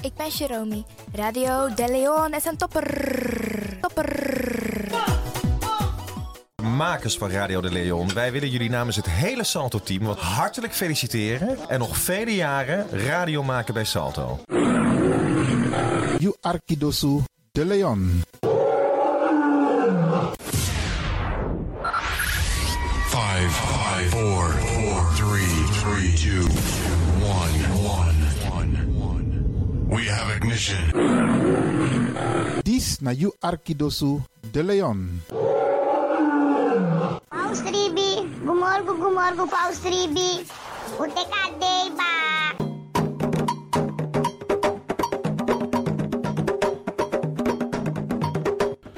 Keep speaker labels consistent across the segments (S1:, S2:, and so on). S1: ik ben Jerome. Radio De Leon is een topper. Topper.
S2: Makers van Radio de Leon, wij willen jullie namens het hele Salto-team wat hartelijk feliciteren. En nog vele jaren radio maken bij Salto.
S3: You Arkidosu de Leon.
S4: Five, five, four, four, three, three, two, one, one, one. We have ignition.
S3: This na You Arkidosu de Leon.
S5: Paus Ribi, gumorgo gumorgo Paus Ribi, uteka deiba.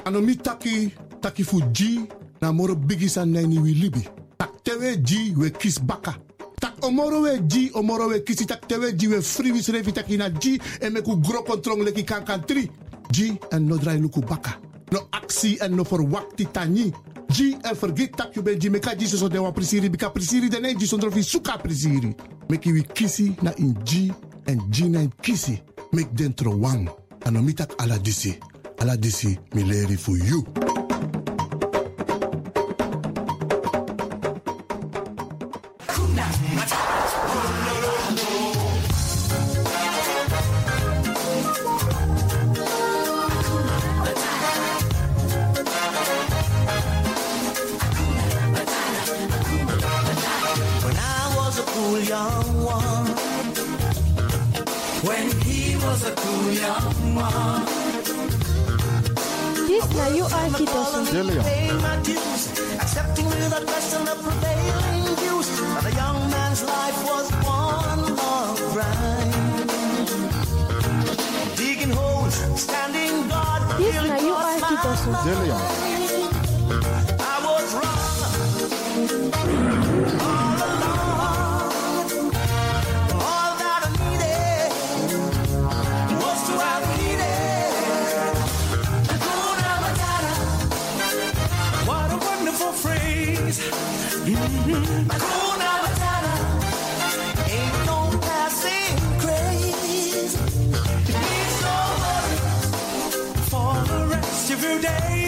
S6: ano mi taki taki fu ji na moro bigi san na ni wi libi tak tewe ji we kis baka tak omoro we ji omoro we kisi tak tewe ji we free wis revi taki na ji e me ku gro kontrong leki kan kan tri ji en no drai luku baka no aksi en no forwakti tani ji en forget tak you ben ji meka ji so so de wa prisiri bika prisiri de ne ji sondro fi suka prisiri meki wi kisi na in ji en ji na in kisi mek dentro wang ano mi tak ala disi Ala disi mi leri fu you.
S7: When I was a cool young one. When he was a cool young one.
S8: This na you Arkidosu.
S3: De Leon.
S7: Paying my dues, accepting without question the prevailing views. But a young man's life was one long grind. Digging holes, standing guard.
S8: This
S7: till it
S8: na you
S7: crossed my
S8: Arkidosu.
S3: De Leon.
S7: I was wrong all along. All that I needed was to have needed. Hakuna Matata. What a wonderful phrase. Mhm. Hakuna Matata. Ain't no passing craze. It's over for the rest of your days.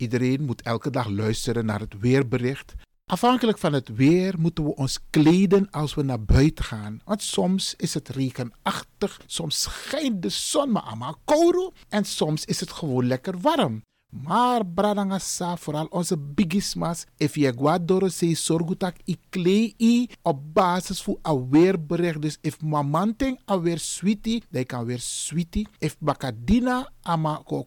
S3: Iedereen moet elke dag luisteren naar het weerbericht. Afhankelijk van het weer moeten we ons kleden als we naar buiten gaan. Want soms is het regenachtig, soms schijnt de zon maar allemaal kouro en soms is het gewoon lekker warm.
S9: Maar bradangasa, vooral onze bigismas, if je guadoro se sorgutak i klei i op basis voor a weerbericht. Dus if mamanting a weer sweetie, dan kan weer sweetie. If bakadina ama ko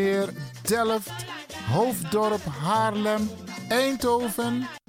S3: Delft, Hoofddorp, Haarlem, Eindhoven.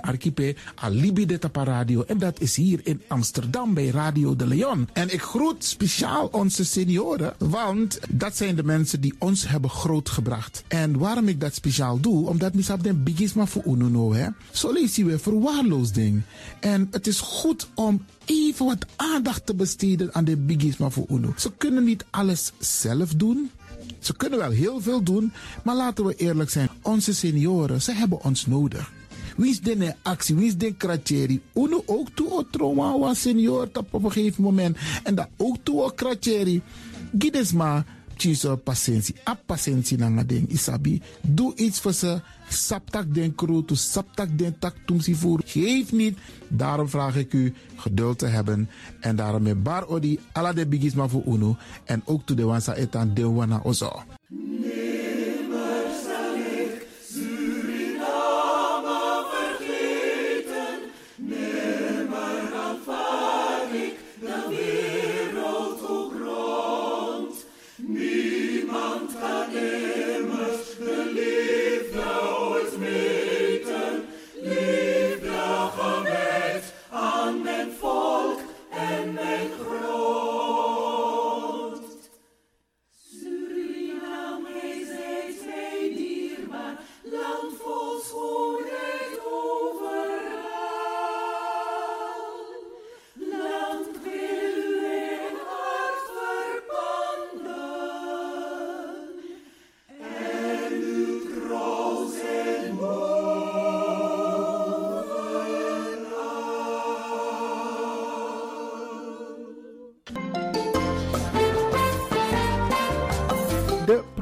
S3: archipel, Alibi de Tapa Radio. En dat is hier in Amsterdam bij Radio de Leon. En ik groet speciaal onze senioren, want dat zijn de mensen die ons hebben grootgebracht. En waarom ik dat speciaal doe, omdat misap den bigisma voor Ununo, hè. Zo lezen we verwaarloosding. En het is goed om even wat aandacht te besteden aan de bigisma voor Uno. Ze kunnen niet alles zelf doen. Ze kunnen wel heel veel doen, maar laten we eerlijk zijn. Onze senioren, ze hebben ons nodig. Wie is de actie? Wie is de kratjeri? Uno ook toe o trauma was senior tap op een gegeven moment. En dat ook toe o kratjeri. Gides maar, tjiso patiëntie. A patiëntie nanga ding isabi. Doe iets voor ze. Saptak den kroto, saptak den tak tumsi voer. Geef niet. Daarom vraag ik u geduld te hebben. En daarom met bar odi, ala de bigisma voor uno. En ook toe de wansa etan de wana ozo. De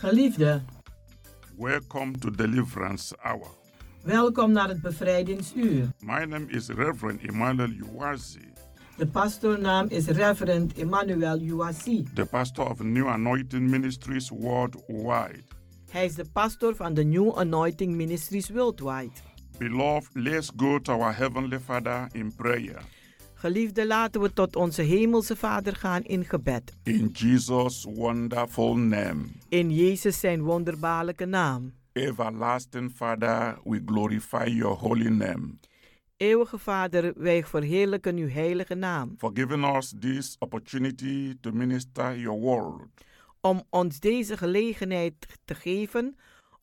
S10: Geliefde,
S3: Welcome to Deliverance Hour.
S10: welkom naar het bevrijdingsuur.
S3: My name is Reverend Emmanuel Uwazi,
S10: De pastoornaam is Reverend Emmanuel Uwasi.
S3: the pastor of New Anointing Ministries worldwide.
S10: Hij is de pastor van de New Anointing Ministries Worldwide.
S3: Beloved, let's go to our Heavenly Father in prayer.
S10: Geliefde, laten we tot onze hemelse Vader gaan in gebed.
S3: In Jesus' wonderful name,
S10: In Jezus zijn wonderbaarlijke naam.
S3: everlasting Father, we glorify your holy name
S10: Eeuwige Vader, wij verheerlijken uw heilige naam.
S3: for giving us this opportunity to minister your word.
S10: Om ons deze gelegenheid te geven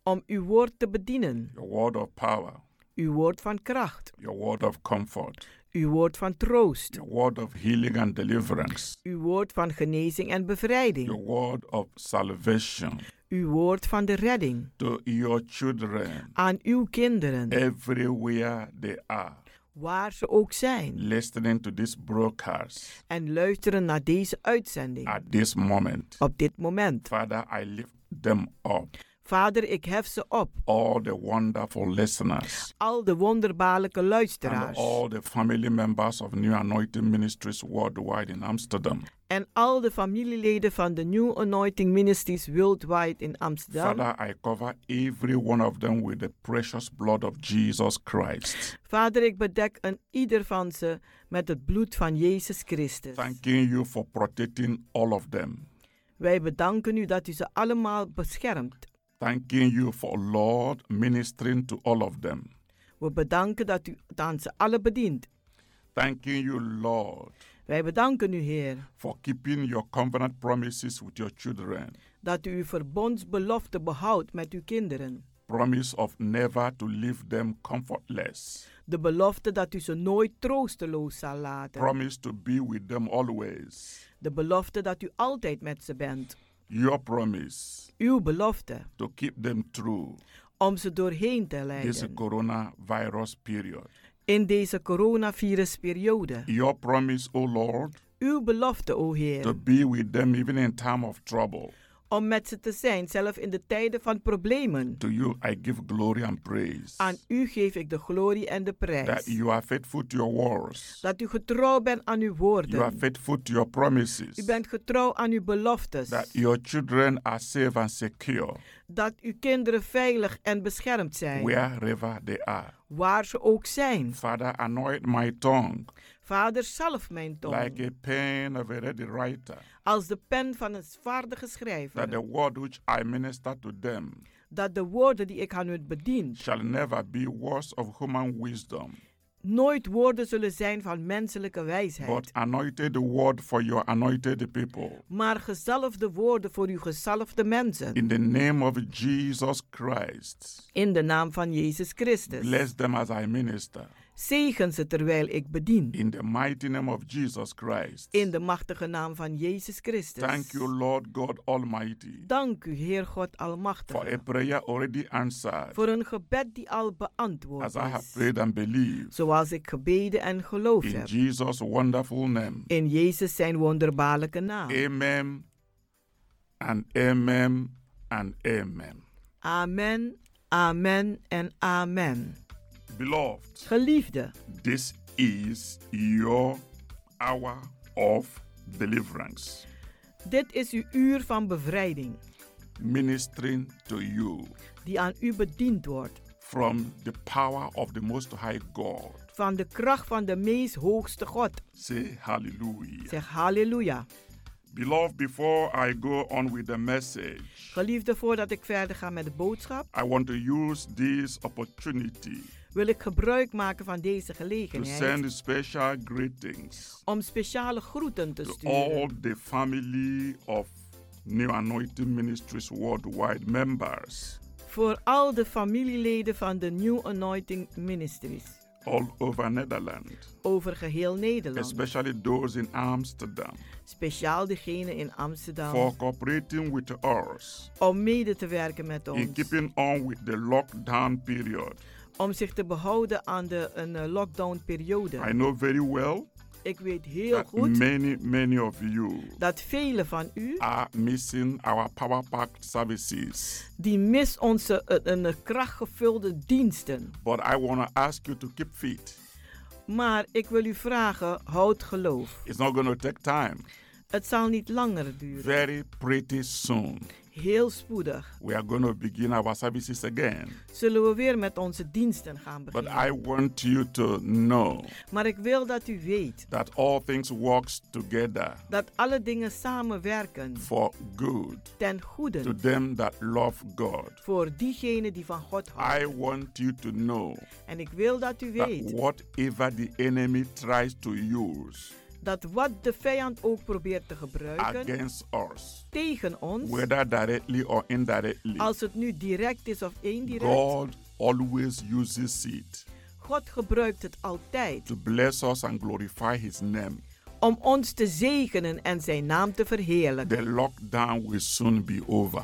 S10: om uw woord te bedienen.
S3: Your word of power,
S10: Uw woord van kracht.
S3: your word of comfort,
S10: Uw woord van troost.
S3: your word of healing and deliverance,
S10: Uw woord van genezing en bevrijding.
S3: your word of salvation.
S10: Uw woord van de redding
S3: to your children
S10: aan uw kinderen,
S3: everywhere they are
S10: waar ze ook zijn,
S3: listening to this broadcast
S10: en luisteren naar deze uitzending
S3: at this moment.
S10: op dit moment.
S3: Father, I lift them up,
S10: Vader, ik hef ze op,
S3: all the wonderful listeners
S10: al de wonderbaarlijke
S3: and
S10: luisteraars
S3: all the family members of New Anointing Ministries worldwide in Amsterdam.
S10: en al de familieleden van de New Anointing Ministries Worldwide in Amsterdam.
S3: Father, I cover every one of them with the precious blood of Jesus Christ.
S10: Vader, ik bedek een ieder van ze met het bloed van Jezus Christus.
S3: Thanking you for protecting all of them.
S10: Wij bedanken u dat u ze allemaal beschermt.
S3: Thanking you for, Lord, ministering to all of them.
S10: We bedanken dat u het aan ze allen bedient.
S3: Thanking you, Lord,
S10: Wij bedanken u, Heer.
S3: for keeping your covenant promises with your children.
S10: dat u uw verbondsbelofte behoudt met uw kinderen.
S3: Promise of never to leave them comfortless.
S10: De belofte dat u ze nooit troosteloos zal laten.
S3: Promise to be with them always.
S10: De belofte dat u altijd met ze bent.
S3: Your promise
S10: Uw belofte
S3: to keep them through
S10: om ze doorheen te
S3: this
S10: leiden
S3: coronavirus period.
S10: in deze coronavirusperiode.
S3: Your promise, O Lord,
S10: Uw belofte, o
S3: to
S10: Heer,
S3: be with them even in time of trouble.
S10: om met ze te zijn, zelf in de tijden van problemen.
S3: To you I give glory and praise.
S10: Aan u geef ik de glorie en de
S3: That
S10: prijs.
S3: you are faithful to your words.
S10: Dat u getrouw bent aan uw
S3: You are
S10: woorden.
S3: faithful to your promises.
S10: U bent getrouw aan uw beloftes.
S3: That your children are safe and secure.
S10: Dat uw kinderen veilig en beschermd zijn.
S3: wherever they are.
S10: waar ze ook zijn.
S3: Father, anoint my tongue
S10: Vader, zalf mijn tong
S3: like a pen of a ready writer,
S10: als de pen van een vaardige
S3: that the
S10: schrijver,
S3: word which I minister to them
S10: dat de woorden die ik aan u bedien
S3: shall never be words of human wisdom,
S10: nooit woorden zullen zijn van menselijke
S3: but
S10: wijsheid,
S3: anointed word for your anointed people.
S10: maar gezalfde woorden voor uw gezalfde mensen.
S3: In the name of Jesus Christ,
S10: In de naam van Jezus Christus.
S3: bless them as I minister.
S10: Zegen ze terwijl ik bedien.
S3: In the mighty name of Jesus Christ.
S10: In de machtige naam van Jezus
S3: Thank
S10: Christus.
S3: you, Lord God Almighty,
S10: Dank u, Heer God
S3: for a
S10: Almachtig,
S3: prayer already answered,
S10: voor een gebed die al
S3: as
S10: beantwoord
S3: I have
S10: is.
S3: prayed and believed.
S10: Zoals ik gebeden en geloofd
S3: In
S10: heb.
S3: Jesus' wonderful name.
S10: In Jezus zijn wonderbaarlijke naam.
S3: Amen and amen and amen.
S10: Amen, amen en amen.
S3: Beloved,
S10: Geliefde,
S3: this is your hour of deliverance.
S10: dit is uw uur van bevrijding
S3: Ministering to you
S10: die aan u bediend wordt
S3: from the power of the Most High God
S10: van de kracht van de meest hoogste God.
S3: Say hallelujah.
S10: Zeg halleluja.
S3: Beloved, before I go on with the message,
S10: Geliefde, voordat ik verder ga met de boodschap,
S3: I want to use this opportunity
S10: wil ik gebruik maken van deze
S3: to send
S10: gelegenheid
S3: special greetings
S10: om speciale groeten te
S3: to
S10: sturen
S3: all the family of New Anointing Ministries worldwide members
S10: voor al de familieleden van de New Anointing Ministries
S3: all over Netherlands,
S10: over geheel Nederland,
S3: especially those in Amsterdam,
S10: speciaal degenen in
S3: for
S10: Amsterdam,
S3: cooperating with us
S10: om mede te werken met
S3: in
S10: ons,
S3: keeping on with the lockdown period.
S10: om zich te behouden aan de een eh,
S3: I
S10: lockdown-periode.
S3: know very well
S10: Ik weet heel
S3: that
S10: goed
S3: many, many of you
S10: dat velen van u
S3: are missing our power packed services.
S10: die mis onze eh, een, een krachtgevulde diensten.
S3: But I want to ask you to keep fit.
S10: Maar ik wil u vragen, houd geloof.
S3: It's not going to take time.
S10: Het zal niet langer duren.
S3: Very pretty soon,
S10: Heel spoedig
S3: we are going to begin our services again.
S10: zullen we weer met onze diensten gaan
S3: But
S10: beginnen.
S3: I want you to know
S10: Maar ik wil dat u weet
S3: that all things works together
S10: dat alle dingen samenwerken
S3: for good
S10: ten
S3: to
S10: goede
S3: them that love God.
S10: voor diegenen die van God houden.
S3: I want you to know
S10: En ik wil dat u
S3: that
S10: weet
S3: whatever the enemy tries to use
S10: dat wat de vijand ook probeert te gebruiken
S3: against us,
S10: tegen ons,
S3: whether directly or indirectly,
S10: als het nu direct is of indirect,
S3: God always uses it
S10: God gebruikt het altijd.
S3: to bless us and glorify His name.
S10: om ons te zegenen en zijn naam te
S3: The
S10: verheerlijken.
S3: lockdown will soon be over.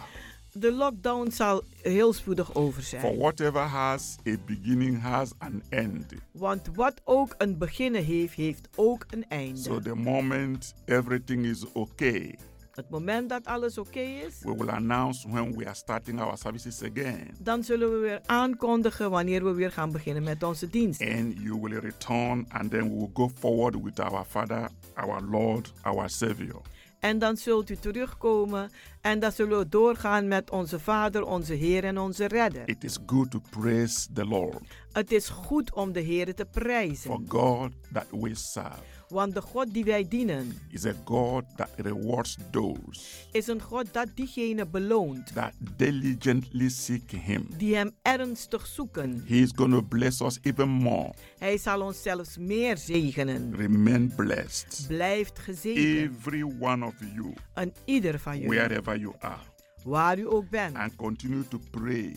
S10: De lockdown zal heel spoedig over
S3: For
S10: zijn.
S3: whatever has a beginning has an end.
S10: Want wat ook een beginnen heeft, heeft ook een
S3: So
S10: einde.
S3: the moment everything is okay,
S10: Het moment dat alles oké is,
S3: we will announce when we are starting our services again.
S10: dan zullen we weer aankondigen wanneer we weer gaan beginnen met onze dienst.
S3: And you will return, and then we will go forward with our Father, our Lord, our Savior.
S10: En dan zult u terugkomen en dan zullen we doorgaan met onze Vader, onze Heer en onze Redder.
S3: It is good to praise the Lord
S10: Het is goed om de Heer te
S3: for
S10: prijzen,
S3: God that we serve.
S10: want de God die wij dienen
S3: is a God that rewards those
S10: is een God dat diegene beloont
S3: that diligently seek Him.
S10: die Hem ernstig zoeken.
S3: He is going to bless us even more.
S10: Hij zal ons zelfs meer zegenen.
S3: Remain blessed.
S10: Blijft gezegend.
S3: Every one of you,
S10: Aan ieder van jullie,
S3: wherever you are,
S10: waar u ook bent.
S3: and continue to pray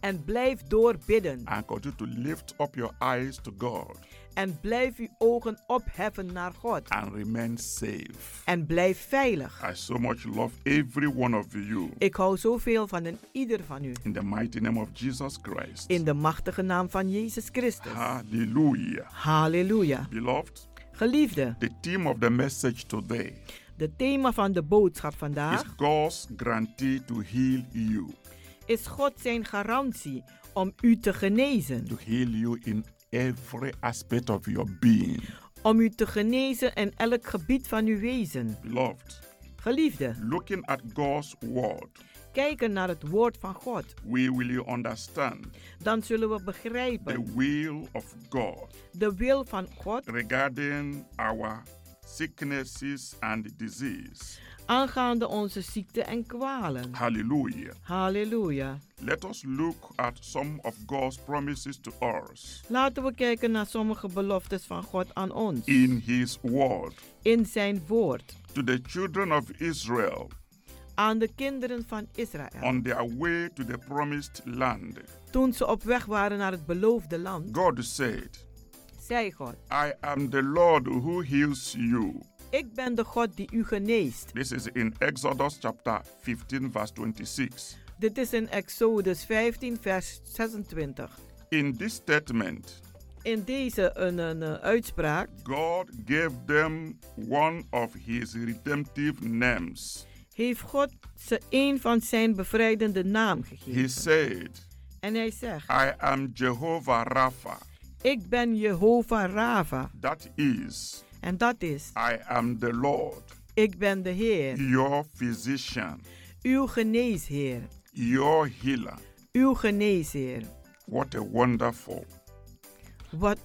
S10: En blijf doorbidden.
S3: and continue to lift up your eyes to God
S10: En blijf uw ogen opheffen naar God.
S3: and remain safe.
S10: En blijf veilig.
S3: I so much love every one of you
S10: Ik hou zoveel van een ieder van u.
S3: in the mighty name of Jesus Christ.
S10: In de machtige naam van Jezus Christus.
S3: Hallelujah.
S10: Halleluja.
S3: Beloved,
S10: Geliefde,
S3: the theme of the message today
S10: de thema van de boodschap
S3: is
S10: vandaag
S3: God's guarantee to heal you,
S10: is God zijn garantie om u te genezen.
S3: to heal you in every aspect of your being.
S10: Om u te genezen in elk gebied van uw wezen.
S3: Beloved,
S10: Geliefde,
S3: looking at God's word,
S10: kijken naar het woord van God,
S3: we will understand
S10: dan zullen we
S3: the
S10: begrijpen
S3: will of God
S10: de wil van God
S3: regarding our sicknesses and disease.
S10: aangaande onze ziekte en kwalen.
S3: Hallelujah.
S10: Halleluja.
S3: Let us look at some of God's promises to us
S10: Laten we kijken naar sommige beloftes van God aan ons
S3: in His word.
S10: in zijn woord
S3: To the children of Israel
S10: aan de kinderen van Israël.
S3: on their way to the promised land,
S10: Toen ze op weg waren naar het beloofde land,
S3: God said,
S10: zei God:
S3: I am the Lord who heals you.
S10: Ik ben de God die u geneest.
S3: This is in Exodus chapter 15, verse 26.
S10: Dit is in Exodus 15, vers 26.
S3: In this statement,
S10: In deze een, een, eh, uitspraak
S3: God gave them one of his redemptive names.
S10: heeft God ze een van zijn bevrijdende naam gegeven.
S3: He said,
S10: En hij zegt,
S3: I am Jehovah Rapha.
S10: ik ben Jehovah Rava.
S3: That is,
S10: En dat is,
S3: I am the Lord,
S10: ik ben de Heer,
S3: your physician,
S10: uw geneesheer,
S3: your healer.
S10: uw geneesheer.
S3: What a wonderful
S10: Wat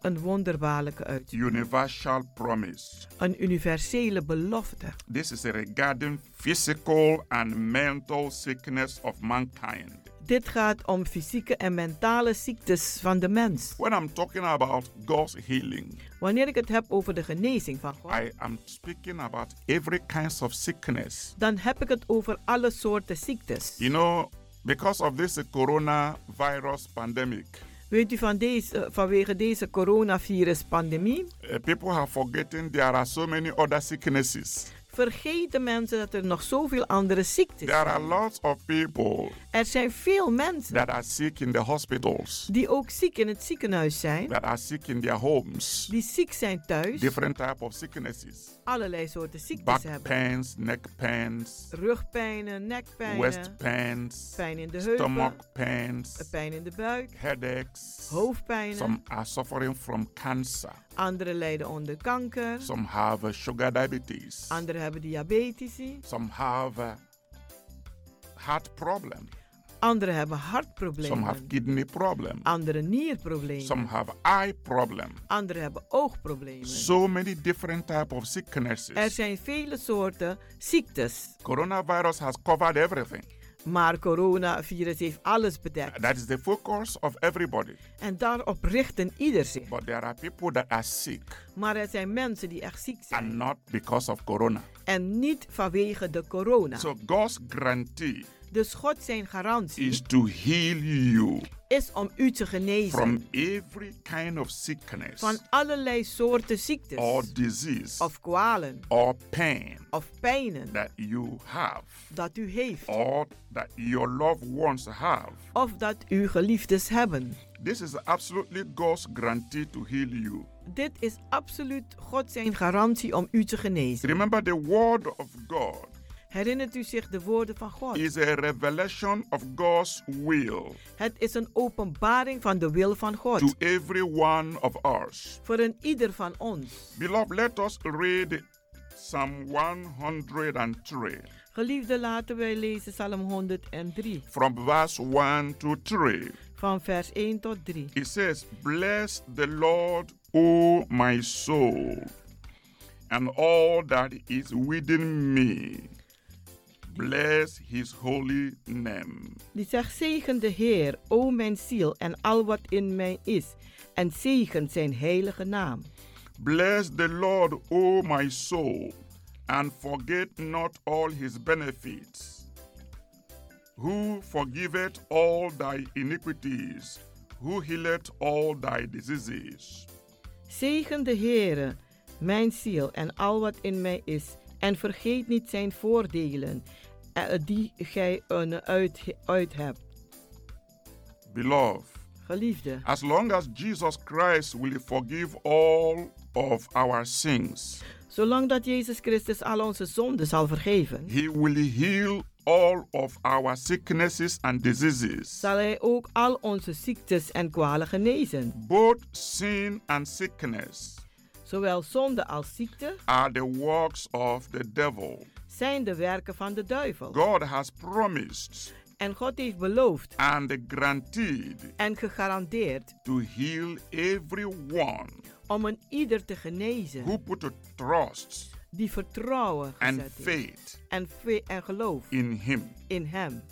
S10: Een wonderbaarlijke uitkomst.
S3: Universal promise.
S10: Een universele belofte.
S3: This is regarding physical and mental sickness of mankind.
S10: Dit gaat om fysieke en mentale ziektes van de mens.
S3: When I'm talking about God's healing,
S10: Wanneer ik het heb over de genezing van God,
S3: I am speaking about every kinds of sickness.
S10: dan heb ik het over alle soorten ziektes.
S3: You know, because of this coronavirus pandemic,
S10: Weet u, van deze, eh, vanwege deze coronavirus-pandemie
S3: uh, people have forgotten there are so many other sicknesses.
S10: vergeten mensen dat er nog zoveel andere ziektes
S3: There are
S10: zijn.
S3: lots of people
S10: Er zijn veel mensen
S3: that are sick in the hospitals,
S10: die ook ziek in het ziekenhuis zijn,
S3: that are sick in their homes.
S10: die ziek zijn thuis,
S3: Different type of sicknesses.
S10: allerlei soorten ziektes
S3: Back
S10: hebben.
S3: pains, neck pains,
S10: Rugpijnen, nekpijnen,
S3: waist pains,
S10: pijn in de heupen, eh,
S3: stomach pains,
S10: pijn in de buik,
S3: headaches.
S10: hoofdpijnen.
S3: Some are suffering from cancer.
S10: Anderen lijden onder kanker,
S3: Some have uh, sugar diabetes.
S10: anderen hebben diabetici,
S3: Some have uh, heart problem.
S10: anderen hebben
S3: Some have
S10: hartproblemen,
S3: kidney problem.
S10: anderen nierproblemen,
S3: Some have eye problem.
S10: anderen hebben oogproblemen.
S3: So many different type of
S10: Er
S3: sicknesses.
S10: zijn vele soorten ziektes,
S3: Coronavirus has covered everything.
S10: maar coronavirus heeft alles bedekt.
S3: That is the focus of everybody.
S10: En daarop richten ieder zich.
S3: But there are people that are sick
S10: Maar er zijn mensen die echt ziek zijn
S3: and not because of corona.
S10: en niet vanwege de corona.
S3: So God's guarantee
S10: Dus God zijn garantie
S3: is to heal you
S10: is om u te genezen
S3: from every kind of sickness
S10: van allerlei soorten
S3: or
S10: ziektes
S3: disease
S10: of kwalen
S3: or pain
S10: of pijnen
S3: that you have
S10: dat u heeft
S3: or that your loved ones have.
S10: of dat uw geliefdes hebben.
S3: This is absolutely God's guarantee to heal you.
S10: Dit is absoluut God zijn garantie om u te genezen.
S3: Remember, the word of God
S10: Herinnert u zich de woorden van God?
S3: is a revelation of God's will
S10: Het is een openbaring van de wil van
S3: to
S10: God
S3: every one of us.
S10: voor een ieder van ons.
S3: Beloved, let us read Psalm 103
S10: Geliefde, laten wij lezen Psalm 103
S3: from verse 1 to 3.
S10: van vers 1 tot 3.
S3: It says, Bless the Lord, O my soul, and all that is within me. Bless his holy name.
S10: Die zegt, zegen de Heer, o mijn ziel en al wat in mij is, en zegen zijn heilige naam.
S3: Bless the Lord, O my soul, and forget not all his benefits. Who forgiveth all thy iniquities, who healeth all thy diseases.
S10: Zegen de Heere, mijn ziel en al wat in mij is, en vergeet niet zijn voordelen, eh, die gij eh, uit, uit hebt.
S3: Beloved,
S10: Geliefde,
S3: As long as Jesus Christ will forgive all of our sins,
S10: zolang dat Jezus Christus al onze zonden zal vergeven,
S3: He will heal all of our sicknesses and diseases.
S10: zal hij ook al onze ziektes en kwalen genezen.
S3: Both sin and sickness
S10: Zowel zonde als ziekte
S3: are the works of the devil.
S10: zijn de werken van de duivel.
S3: God has promised
S10: En God heeft beloofd
S3: and guaranteed
S10: en gegarandeerd
S3: to heal everyone
S10: om een ieder te genezen
S3: who put a trust
S10: die vertrouwen
S3: and
S10: gezet heeft
S3: faith
S10: en, ve- en geloof
S3: in Him.
S10: in Hem.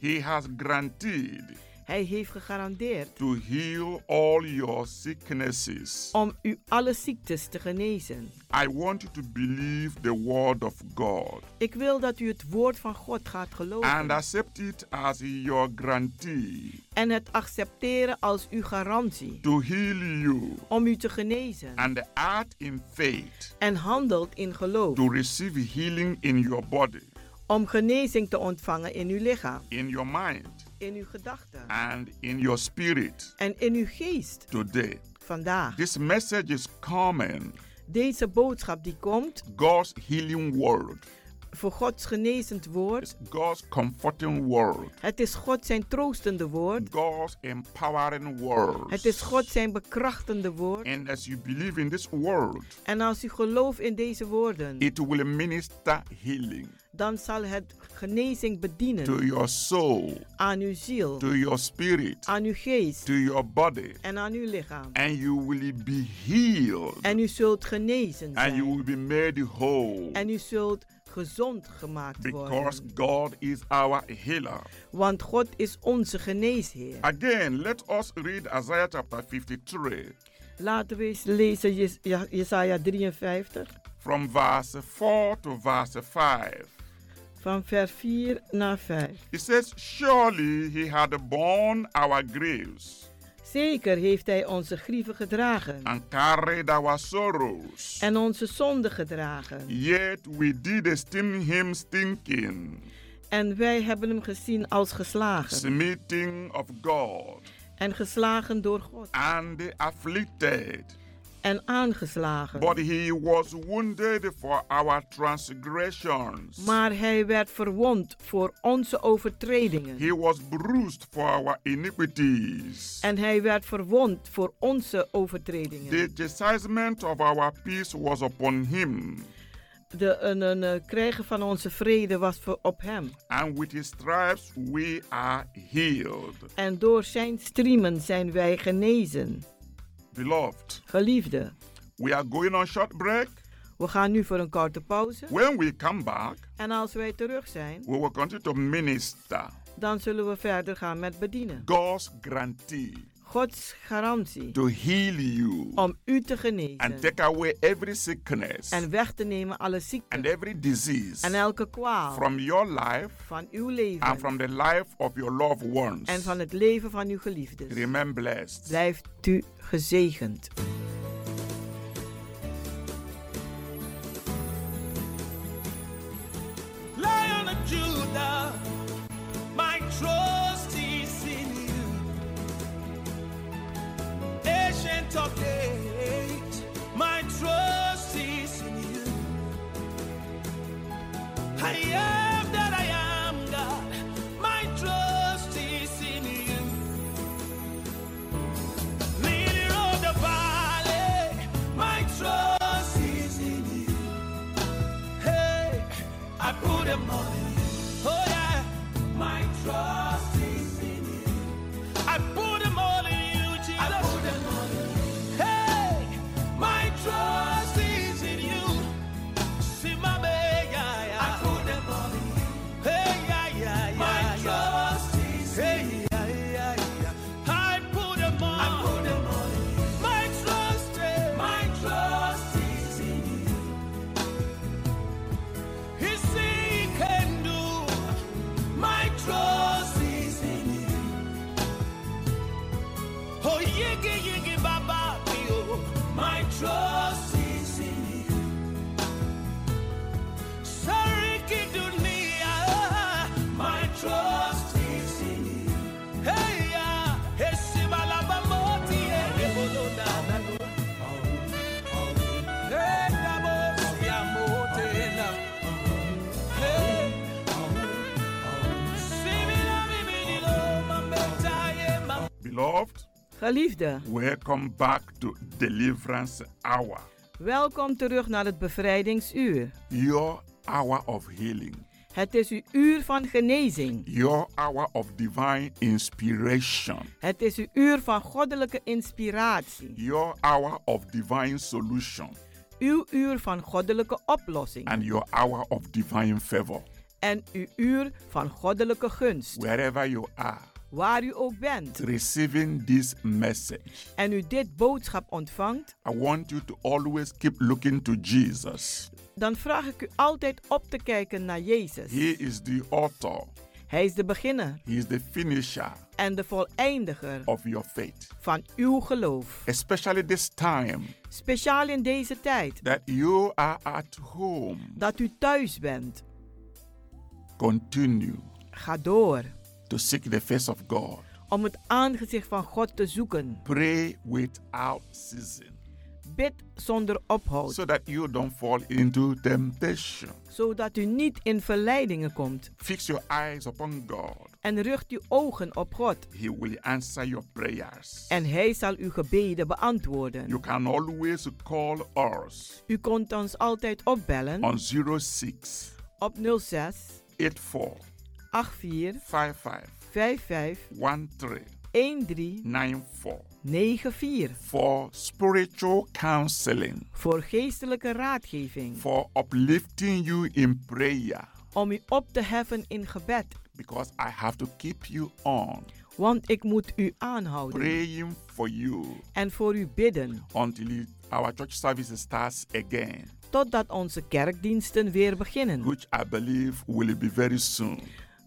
S3: He has guaranteed
S10: Hij heeft gegarandeerd
S3: to heal all your sicknesses.
S10: om u alle ziektes te genezen.
S3: I want you to believe the word of God
S10: Ik wil dat u het woord van God gaat
S3: and
S10: geloven
S3: accept it as your guarantee
S10: en het accepteren als uw garantie
S3: to heal you
S10: om u te genezen.
S3: and act in faith
S10: En handelt in geloof
S3: to receive healing in your body,
S10: om genezing te ontvangen in uw lichaam,
S3: in your mind,
S10: in uw gedachten
S3: and in your spirit
S10: en in uw geest
S3: today.
S10: vandaag.
S3: This message is common.
S10: Deze boodschap die komt,
S3: God's healing word
S10: voor Gods genezend woord.
S3: God's comforting word.
S10: Het is God zijn troostende woord.
S3: God's empowering word.
S10: Het is God zijn bekrachtende woord.
S3: And as you believe in this word,
S10: En als u gelooft in deze woorden,
S3: it will minister healing
S10: dan zal het genezing bedienen
S3: to your soul,
S10: aan uw ziel,
S3: to your spirit,
S10: aan uw geest
S3: to your body,
S10: en aan uw lichaam.
S3: and you will be healed
S10: En u zult genezen
S3: and you
S10: zijn.
S3: will be made whole
S10: En u zult gezond gemaakt
S3: because
S10: worden.
S3: God is our healer.
S10: Want God is onze geneesheer.
S3: Again, let us read Isaiah chapter 53
S10: Laten we eens lezen Jes- Ja- Jesaja 53
S3: from verse 4 to verse 5.
S10: van vers 4 naar 5.
S3: It says, Surely he had borne our griefs
S10: Zeker heeft hij onze grieven gedragen
S3: and carried our sorrows.
S10: en onze zonden gedragen.
S3: Yet we did esteem him stinking,
S10: En wij hebben hem gezien als geslagen
S3: smiting of God,
S10: en geslagen door God
S3: and afflicted.
S10: en aangeslagen.
S3: But he was wounded for our transgressions.
S10: Maar hij werd verwond voor onze overtredingen
S3: He was bruised for our iniquities.
S10: en hij werd verwond voor onze overtredingen.
S3: The chastisement of our peace was upon him,
S10: De een, een, eh, krijgen van onze vrede was voor, op hem.
S3: and with his stripes we are healed.
S10: En door zijn striemen zijn wij genezen.
S3: Beloved,
S10: Geliefde,
S3: we are going on short break.
S10: we gaan nu voor een korte pauze.
S3: When we come back,
S10: En als wij terug zijn,
S3: we will continue to minister
S10: dan zullen we verder gaan met bedienen.
S3: God's grantee
S10: Gods garantie
S3: to heal you
S10: om u te
S3: and
S10: genezen
S3: take away every sickness
S10: en weg te nemen alle ziekte
S3: and every disease
S10: en elke kwaal
S3: from your life
S10: van uw
S3: and
S10: leven
S3: from the life of your loved ones.
S10: en van het leven van uw geliefden.
S3: Remain blessed.
S10: Blijft u gezegend.
S7: Lion of Judah, my trust is in you. Ancient of days, my trust is in you. I am that I am, God, my trust is in you. Leader of the valley, my trust is in you. Hey, I put them on in you. Oh yeah, my trust is in you. I put them all in you, Jesus. I put them all in you. Hey, my trust is in you. See my baby, yeah, yeah. I put them all in you. Hey, yeah, yeah, yeah. My trust is hey, in you. Yeah, yeah, yeah. I put them all. I put them all in you. My trust, eh, my trust is in you. He see can do. My trust is in you. Oh yigi yigi baba pio. My trust is in you. Sorry kidunia. My trust is in you. Hey ya, esimala bamoti ebolona. Oh, Hey, dabo, siamote na.
S3: Beloved,
S10: Geliefde,
S3: welcome back to Deliverance Hour,
S10: welkom terug naar het bevrijdingsuur.
S3: your hour of healing,
S10: Het is uw uur van genezing.
S3: your hour of divine inspiration,
S10: Het is uw uur van goddelijke inspiratie.
S3: your hour of divine solution,
S10: Uw uur van goddelijke oplossing.
S3: and your hour of divine favor.
S10: En uw uur van goddelijke gunst.
S3: Wherever you are,
S10: Waar u ook bent
S3: receiving this message.
S10: en u dit boodschap ontvangt,
S3: I want you to always keep looking to Jesus.
S10: dan vraag ik u altijd op te kijken naar Jezus.
S3: He is the author,
S10: Hij is de beginner
S3: He is the finisher
S10: en de voleindiger
S3: of your faith.
S10: van uw geloof.
S3: Especially this time
S10: Speciaal in deze tijd
S3: that you are at home,
S10: dat u thuis bent.
S3: continue
S10: Ga door
S3: to seek the face of God.
S10: om het aangezicht van God te zoeken.
S3: Pray without ceasing.
S10: Bid zonder ophoud.
S3: so that you don't fall into temptation.
S10: zodat u niet in verleidingen komt.
S3: Fix your eyes upon God.
S10: En richt uw ogen op God.
S3: He will answer your prayers.
S10: En Hij zal uw gebeden beantwoorden.
S3: You can always call us
S10: U kunt ons altijd opbellen
S3: on 06
S10: op 06
S3: 84
S10: 84
S3: 55
S10: 55
S3: 13
S10: 13
S3: 94
S10: 94
S3: for spiritual counseling,
S10: voor geestelijke raadgeving.
S3: for uplifting you in prayer,
S10: Om u op te heffen in gebed.
S3: because I have to keep you on
S10: Want ik moet u aanhouden
S3: praying for you
S10: en voor u bidden.
S3: until you- our church service starts again,
S10: Totdat onze kerkdiensten weer beginnen.
S3: which I believe will be very soon.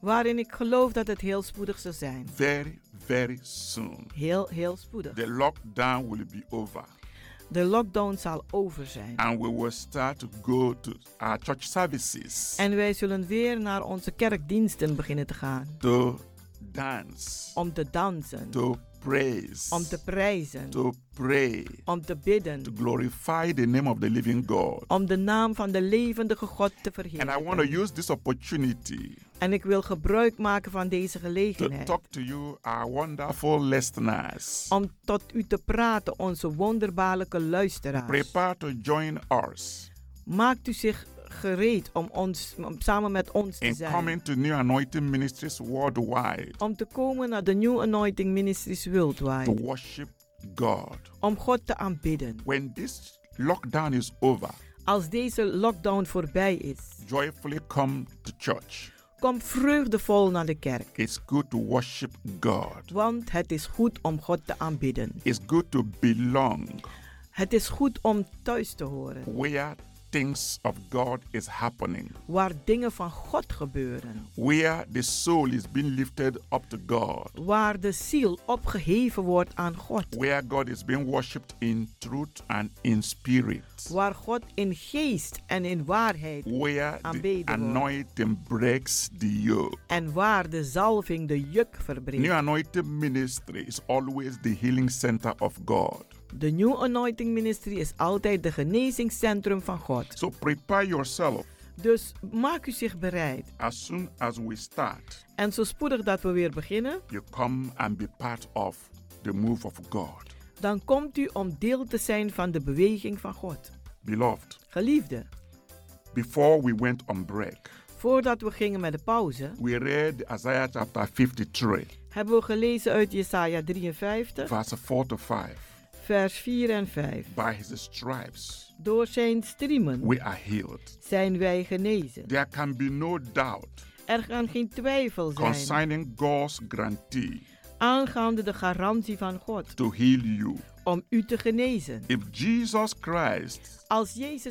S10: Waarin ik geloof dat het heel spoedig zal zijn.
S3: Very, very soon.
S10: Heel, heel spoedig.
S3: The lockdown will be over.
S10: De lockdown zal over zijn.
S3: and we will start to go to our church services
S10: En wij zullen weer naar onze kerkdiensten beginnen te gaan.
S3: to dance,
S10: Om te dansen.
S3: to praise,
S10: Om te prijzen.
S3: to pray,
S10: Om te bidden.
S3: to glorify the name of the living God.
S10: Om de naam van de levendige God te
S3: And I want
S10: verheerlijken.
S3: to use this opportunity
S10: En ik wil gebruik maken van deze
S3: to
S10: gelegenheid.
S3: talk to you, our wonderful listeners.
S10: Om tot u te praten, onze wonderbaarlijke luisteraars.
S3: Prepare to join us
S10: Maakt u zich gereed om, ons, om samen met ons te
S3: in coming
S10: zijn.
S3: to New Anointing Ministries worldwide
S10: Om te komen naar de New Anointing Ministries
S3: to
S10: Worldwide.
S3: worship God.
S10: Om God te aanbidden.
S3: When this lockdown is over,
S10: Als deze lockdown voorbij is,
S3: joyfully come to church.
S10: kom vreugdevol naar de kerk.
S3: It's good to worship God.
S10: Want het is goed om God te aanbidden.
S3: It's good to belong
S10: Het is goed om thuis te horen,
S3: where things of God is happening,
S10: waar dingen van God gebeuren.
S3: where the soul is being lifted up to God,
S10: Waar de ziel opgeheven wordt aan God.
S3: where God is being worshipped in truth and in spirit,
S10: Waar God in geest en in waarheid
S3: where the
S10: aanbeden wordt.
S3: anointing breaks the yoke.
S10: En waar de zalving de juk
S3: New
S10: verbreekt.
S3: Anointing Ministry is always the healing center of God.
S10: De New Anointing Ministry is altijd de genezingscentrum van God.
S3: So prepare yourself
S10: Dus maak u zich bereid.
S3: as soon as we start.
S10: En zo spoedig dat we weer beginnen,
S3: You come and be part of the move of God.
S10: dan komt u om deel te zijn van de beweging van God.
S3: Beloved,
S10: Geliefde,
S3: before we went on break,
S10: voordat we gingen met de pauze,
S3: we read Isaiah chapter 53,
S10: hebben we gelezen uit Jesaja 53,
S3: verse 4 to 5.
S10: vers 4 en 5.
S3: By his stripes
S10: Door zijn striemen
S3: we are healed.
S10: zijn wij genezen.
S3: There can be no doubt
S10: Er kan geen twijfel zijn
S3: concerning God's guarantee
S10: aangaande de garantie van God
S3: to heal you.
S10: om u te genezen.
S3: If Jesus Christ
S10: Als Jezus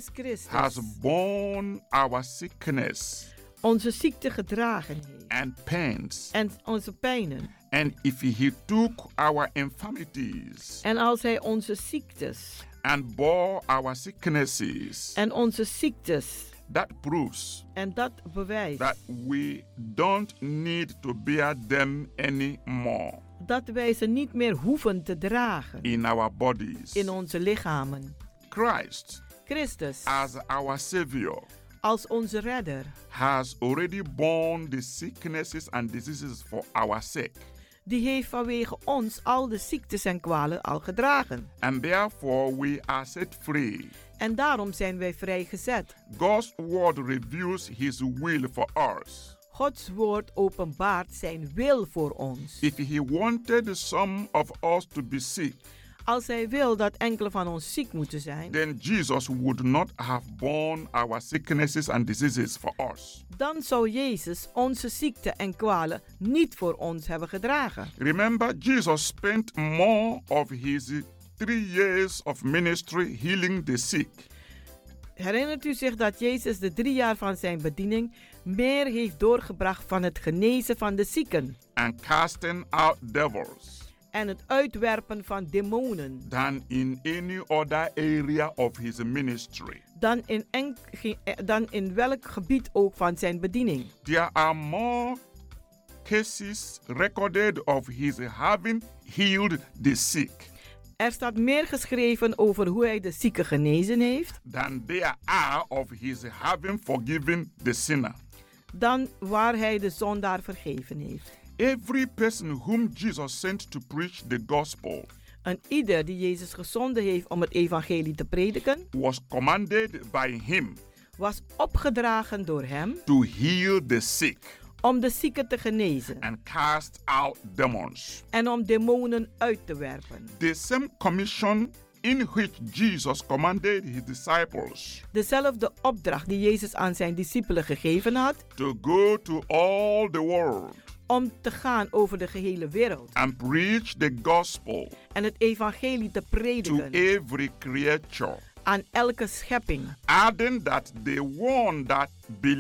S3: has
S10: Christus
S3: borne our sickness
S10: onze ziekte gedragen heeft
S3: and pains,
S10: en onze pijnen,
S3: and if he took our infirmities
S10: en als hij onze ziektes
S3: and bore our sicknesses,
S10: en onze ziektes
S3: that proves
S10: en dat bewijst
S3: that we don't need to bear them anymore
S10: dat wij ze niet meer hoeven te dragen
S3: in our bodies.
S10: in onze lichamen.
S3: Christ,
S10: Christus,
S3: as our Savior,
S10: als onze redder,
S3: has already borne the sicknesses and diseases for our sake.
S10: die heeft vanwege ons al de ziektes en kwalen al gedragen.
S3: And therefore, we are set free.
S10: En daarom zijn wij vrijgezet.
S3: God's word reveals His will for us.
S10: Gods woord openbaart zijn wil voor ons.
S3: If He wanted some of us to be sick,
S10: Als hij wil dat enkele van ons ziek moeten zijn,
S3: then Jesus would not have borne our sicknesses and diseases for us.
S10: dan zou Jezus onze ziekte en kwalen niet voor ons hebben gedragen.
S3: Remember, Jesus spent more of his three years of ministry healing the sick.
S10: Herinnert u zich dat Jezus de drie jaar van zijn bediening meer heeft doorgebracht van het genezen van de zieken
S3: and casting out devils
S10: en het uitwerpen van demonen
S3: than in any other area of his ministry.
S10: dan in, enk- ge- eh, dan in welk gebied ook van zijn bediening?
S3: There are more cases recorded of his having healed the sick
S10: Er staat meer geschreven over hoe hij de zieke genezen heeft
S3: than there are of his having forgiven the sinner.
S10: dan waar hij de zondaar vergeven heeft.
S3: Every person whom Jesus sent to preach the gospel
S10: En ieder die Jezus gezonden heeft om het evangelie te prediken,
S3: was commanded by him
S10: was opgedragen door hem
S3: to heal the sick
S10: om de zieken te genezen
S3: and cast out demons.
S10: en om demonen uit te werpen.
S3: The same commission in which Jesus commanded his disciples
S10: Dezelfde opdracht die Jezus aan zijn discipelen gegeven had
S3: to go to all the world
S10: om te gaan over de gehele wereld
S3: and preach the gospel
S10: en het evangelie te
S3: to
S10: prediken
S3: every creature,
S10: aan elke schepping
S3: adding that the one that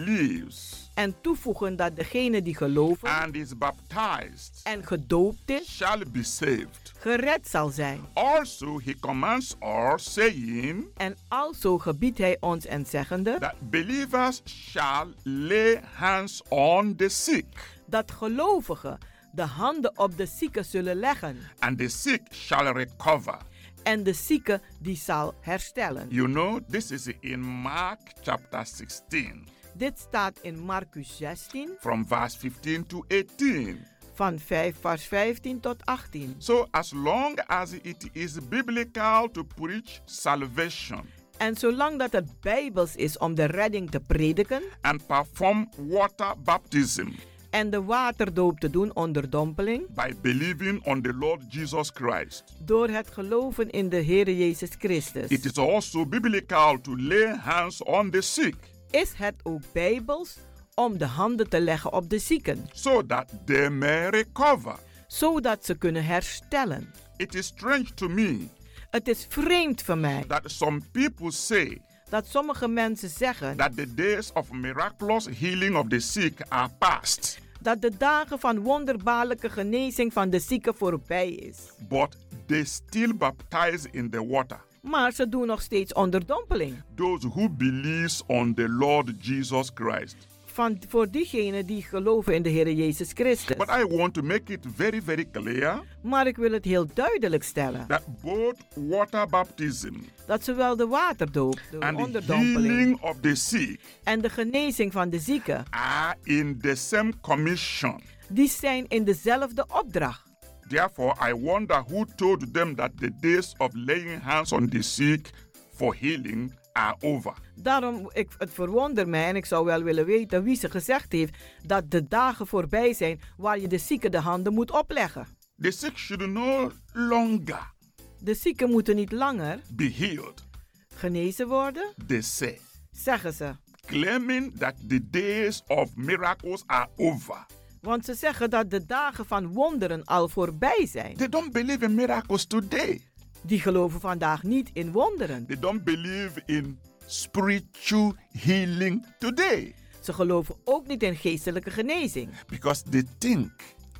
S3: believes
S10: en toevoegen dat degene die geloven
S3: and is baptized
S10: en gedoopt is,
S3: shall be saved.
S10: gered zal zijn.
S3: Also, he commands us, saying
S10: En alzo gebiedt hij ons en zeggende
S3: that believers shall lay hands on the sick,
S10: dat gelovigen de handen op de zieken zullen leggen
S3: and the sick shall recover.
S10: en de zieke die zal herstellen.
S3: You know, this is in Mark chapter 16,
S10: Dit staat in Marcus 16
S3: from verse 15 to 18.
S10: van 5 vers 15 tot 18.
S3: So, as long as it is biblical to preach salvation
S10: En zolang dat het bijbels is om de redding te prediken
S3: and perform water baptism
S10: en de waterdoop te doen onder dompeling,
S3: by believing on the Lord Jesus Christ,
S10: door het geloven in de Heer Jezus Christus,
S3: it is also biblical to lay hands on the sick
S10: is het ook bijbels om de handen te leggen op de zieken,
S3: so that they may recover.
S10: zodat ze kunnen herstellen.
S3: It is strange to me
S10: Het is vreemd voor mij
S3: that some people say
S10: dat sommige mensen zeggen
S3: that the days of miraculous healing of the sick are past,
S10: dat de dagen van wonderbaarlijke genezing van de zieken voorbij is.
S3: but they still baptize in the water.
S10: Maar ze doen nog steeds onderdompeling.
S3: Those who believes on the Lord Jesus Christ.
S10: Van, voor diegenen die geloven in de Heer Jezus Christus.
S3: But I want to make it very, very clear
S10: Maar ik wil het heel duidelijk stellen
S3: that both water baptism
S10: dat zowel de waterdoop, de
S3: and the
S10: onderdompeling
S3: healing of the sick
S10: en de genezing van de zieken,
S3: are in the same commission.
S10: die zijn in dezelfde opdracht.
S3: Therefore, I wonder who told them that the days of laying hands on the sick for healing are over.
S10: Daarom, ik, het verwonder mij en ik zou wel willen weten wie ze gezegd heeft dat de dagen voorbij zijn waar je de zieken de handen moet opleggen.
S3: The sick should no longer
S10: De zieken moeten niet langer
S3: be healed,
S10: genezen worden,
S3: they say,
S10: zeggen ze.
S3: claiming that the days of miracles are over.
S10: Want ze zeggen dat de dagen van wonderen al voorbij zijn.
S3: They don't believe in miracles today.
S10: Die geloven vandaag niet in wonderen.
S3: They don't believe in spiritual healing today
S10: Ze geloven ook niet in geestelijke genezing.
S3: because they think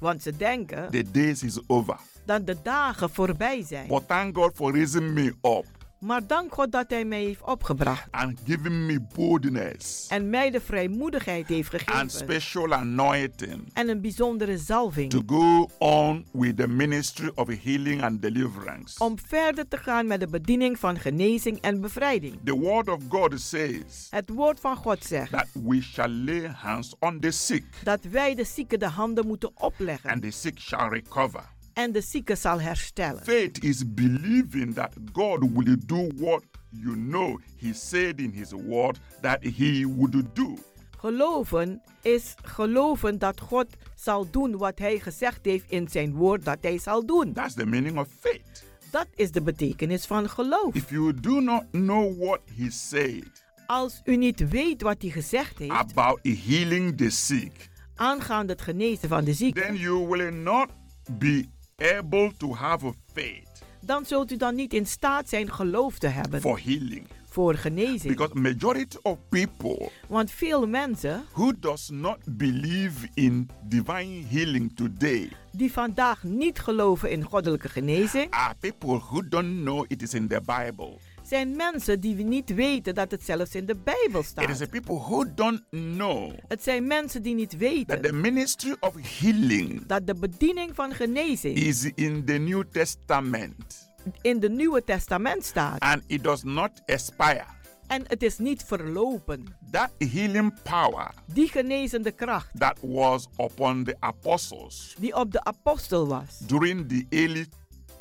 S10: Want ze denken
S3: the days is over.
S10: dat de dagen voorbij zijn.
S3: But thank God for raising me up
S10: Maar dank God dat Hij mij heeft opgebracht.
S3: and giving me boldness
S10: En mij de vrijmoedigheid heeft
S3: and
S10: gegeven.
S3: special anointing
S10: En een bijzondere
S3: to
S10: zalving.
S3: go on with the ministry of healing and deliverance.
S10: Om verder te gaan met de bediening van genezing en bevrijding.
S3: The word of God says
S10: Het woord van God zegt
S3: that we shall lay hands on the sick
S10: dat wij de zieken de handen moeten opleggen.
S3: and the sick shall recover.
S10: En de zieke zal herstellen.
S3: Faith is believing that God will do what you know He said in His word that He would do.
S10: Geloven is geloven dat God zal doen wat hij gezegd heeft in zijn woord dat hij zal doen.
S3: That's the meaning of faith.
S10: Dat is de betekenis van geloof.
S3: If you do not know what He said
S10: Als u niet weet wat hij gezegd heeft
S3: about healing the sick,
S10: aangaande het genezen van de
S3: then
S10: ziekte,
S3: you will not be able to have a faith
S10: dan zult u dan niet in staat zijn geloof te hebben
S3: for healing
S10: voor genezing.
S3: because majority of people
S10: Want veel mensen
S3: who does not believe in divine healing today
S10: die vandaag niet geloven in goddelijke genezing,
S3: are people who don't know it is in the Bible.
S10: zijn mensen die niet weten dat het zelfs in de Bijbel
S3: It is
S10: staat.
S3: the people who don't know
S10: Het zijn mensen die niet
S3: that the
S10: weten
S3: ministry of healing
S10: dat de bediening van genezing
S3: is in the New Testament.
S10: in de Nieuwe Testament staat.
S3: and it does not expire.
S10: En het is niet verlopen.
S3: That healing power
S10: Die genezende kracht
S3: that was upon the apostles
S10: die op de apostel was
S3: during the early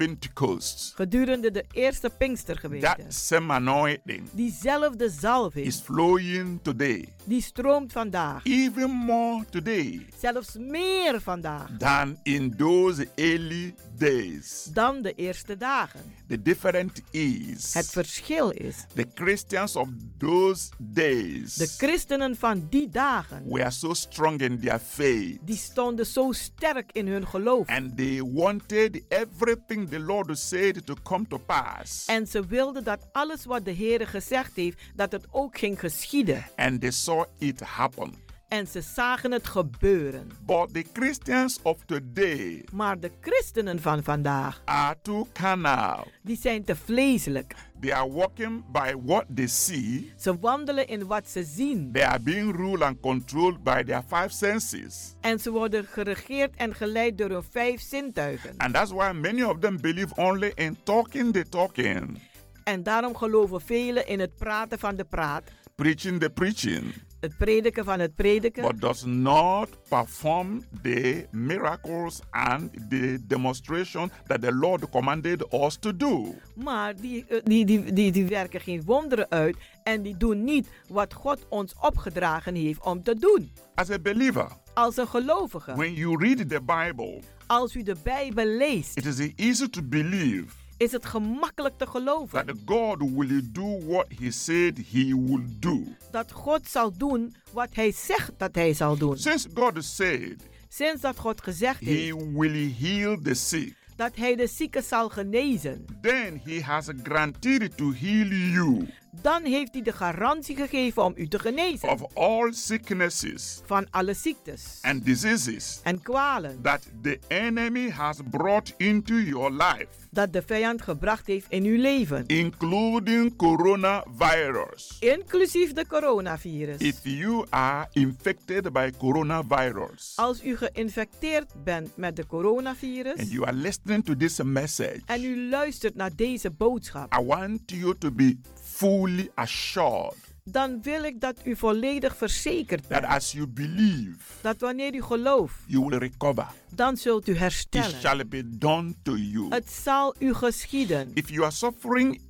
S3: Pentecost,
S10: gedurende de eerste Pinkstergemeente.
S3: that same anointing
S10: Diezelfde zalving
S3: is flowing today,
S10: die stroomt vandaag.
S3: even more today
S10: Zelfs meer vandaag
S3: than in those early days.
S10: dan de eerste dagen.
S3: The difference is
S10: Het verschil is,
S3: the Christians of those days
S10: de christenen van die dagen,
S3: were so strong in their faith
S10: die stonden zo sterk in hun geloof.
S3: and they wanted everything the Lord said to come to pass.
S10: En ze wilden dat alles wat de Heer gezegd heeft, dat het ook ging geschieden.
S3: and they saw it happen.
S10: En ze zagen het gebeuren.
S3: But the Christians of today
S10: Maar de christenen van vandaag,
S3: are too carnal.
S10: die zijn te vleeselijk.
S3: They are walking by what they see.
S10: Ze wandelen in wat ze zien.
S3: They are being ruled and controlled by their five senses.
S10: En ze worden geregeerd en geleid door hun vijf zintuigen.
S3: And that's why many of them believe only in talking the talking,
S10: En daarom geloven velen in het praten van de praat,
S3: preaching the preaching,
S10: het prediken van het prediken,
S3: but does not perform the miracles and the demonstration that the Lord commanded us to do.
S10: maar die, eh, die, die, die, die werken geen wonderen uit en die doen niet wat God ons opgedragen heeft om te doen.
S3: As a believer,
S10: Als een gelovige,
S3: when you read the Bible,
S10: als u de Bijbel leest,
S3: It is easy to believe
S10: is het gemakkelijk te geloven
S3: that God will do what He said He will do.
S10: dat God zal doen wat Hij zegt dat Hij zal doen.
S3: Since God said
S10: Sinds dat God gezegd
S3: He
S10: heeft
S3: will heal the sick,
S10: dat Hij de zieke zal genezen,
S3: then He has granted to heal you
S10: dan heeft Hij de garantie gegeven om u te genezen
S3: of all sicknesses
S10: van alle ziektes
S3: and diseases
S10: en kwalen
S3: that the enemy has brought into your life,
S10: dat de vijand gebracht heeft in uw leven,
S3: including coronavirus.
S10: inclusief de coronavirus.
S3: If you are infected by coronavirus
S10: Als u geïnfecteerd bent met de
S3: and
S10: coronavirus
S3: you are listening to this message,
S10: en u luistert naar deze boodschap,
S3: I want you to be fully assured
S10: dan wil ik dat u volledig verzekerd
S3: that
S10: bent
S3: as you believe,
S10: dat wanneer u gelooft,
S3: you will recover.
S10: dan zult u
S3: It
S10: herstellen.
S3: shall be done to you.
S10: Het zal u geschieden.
S3: If you are suffering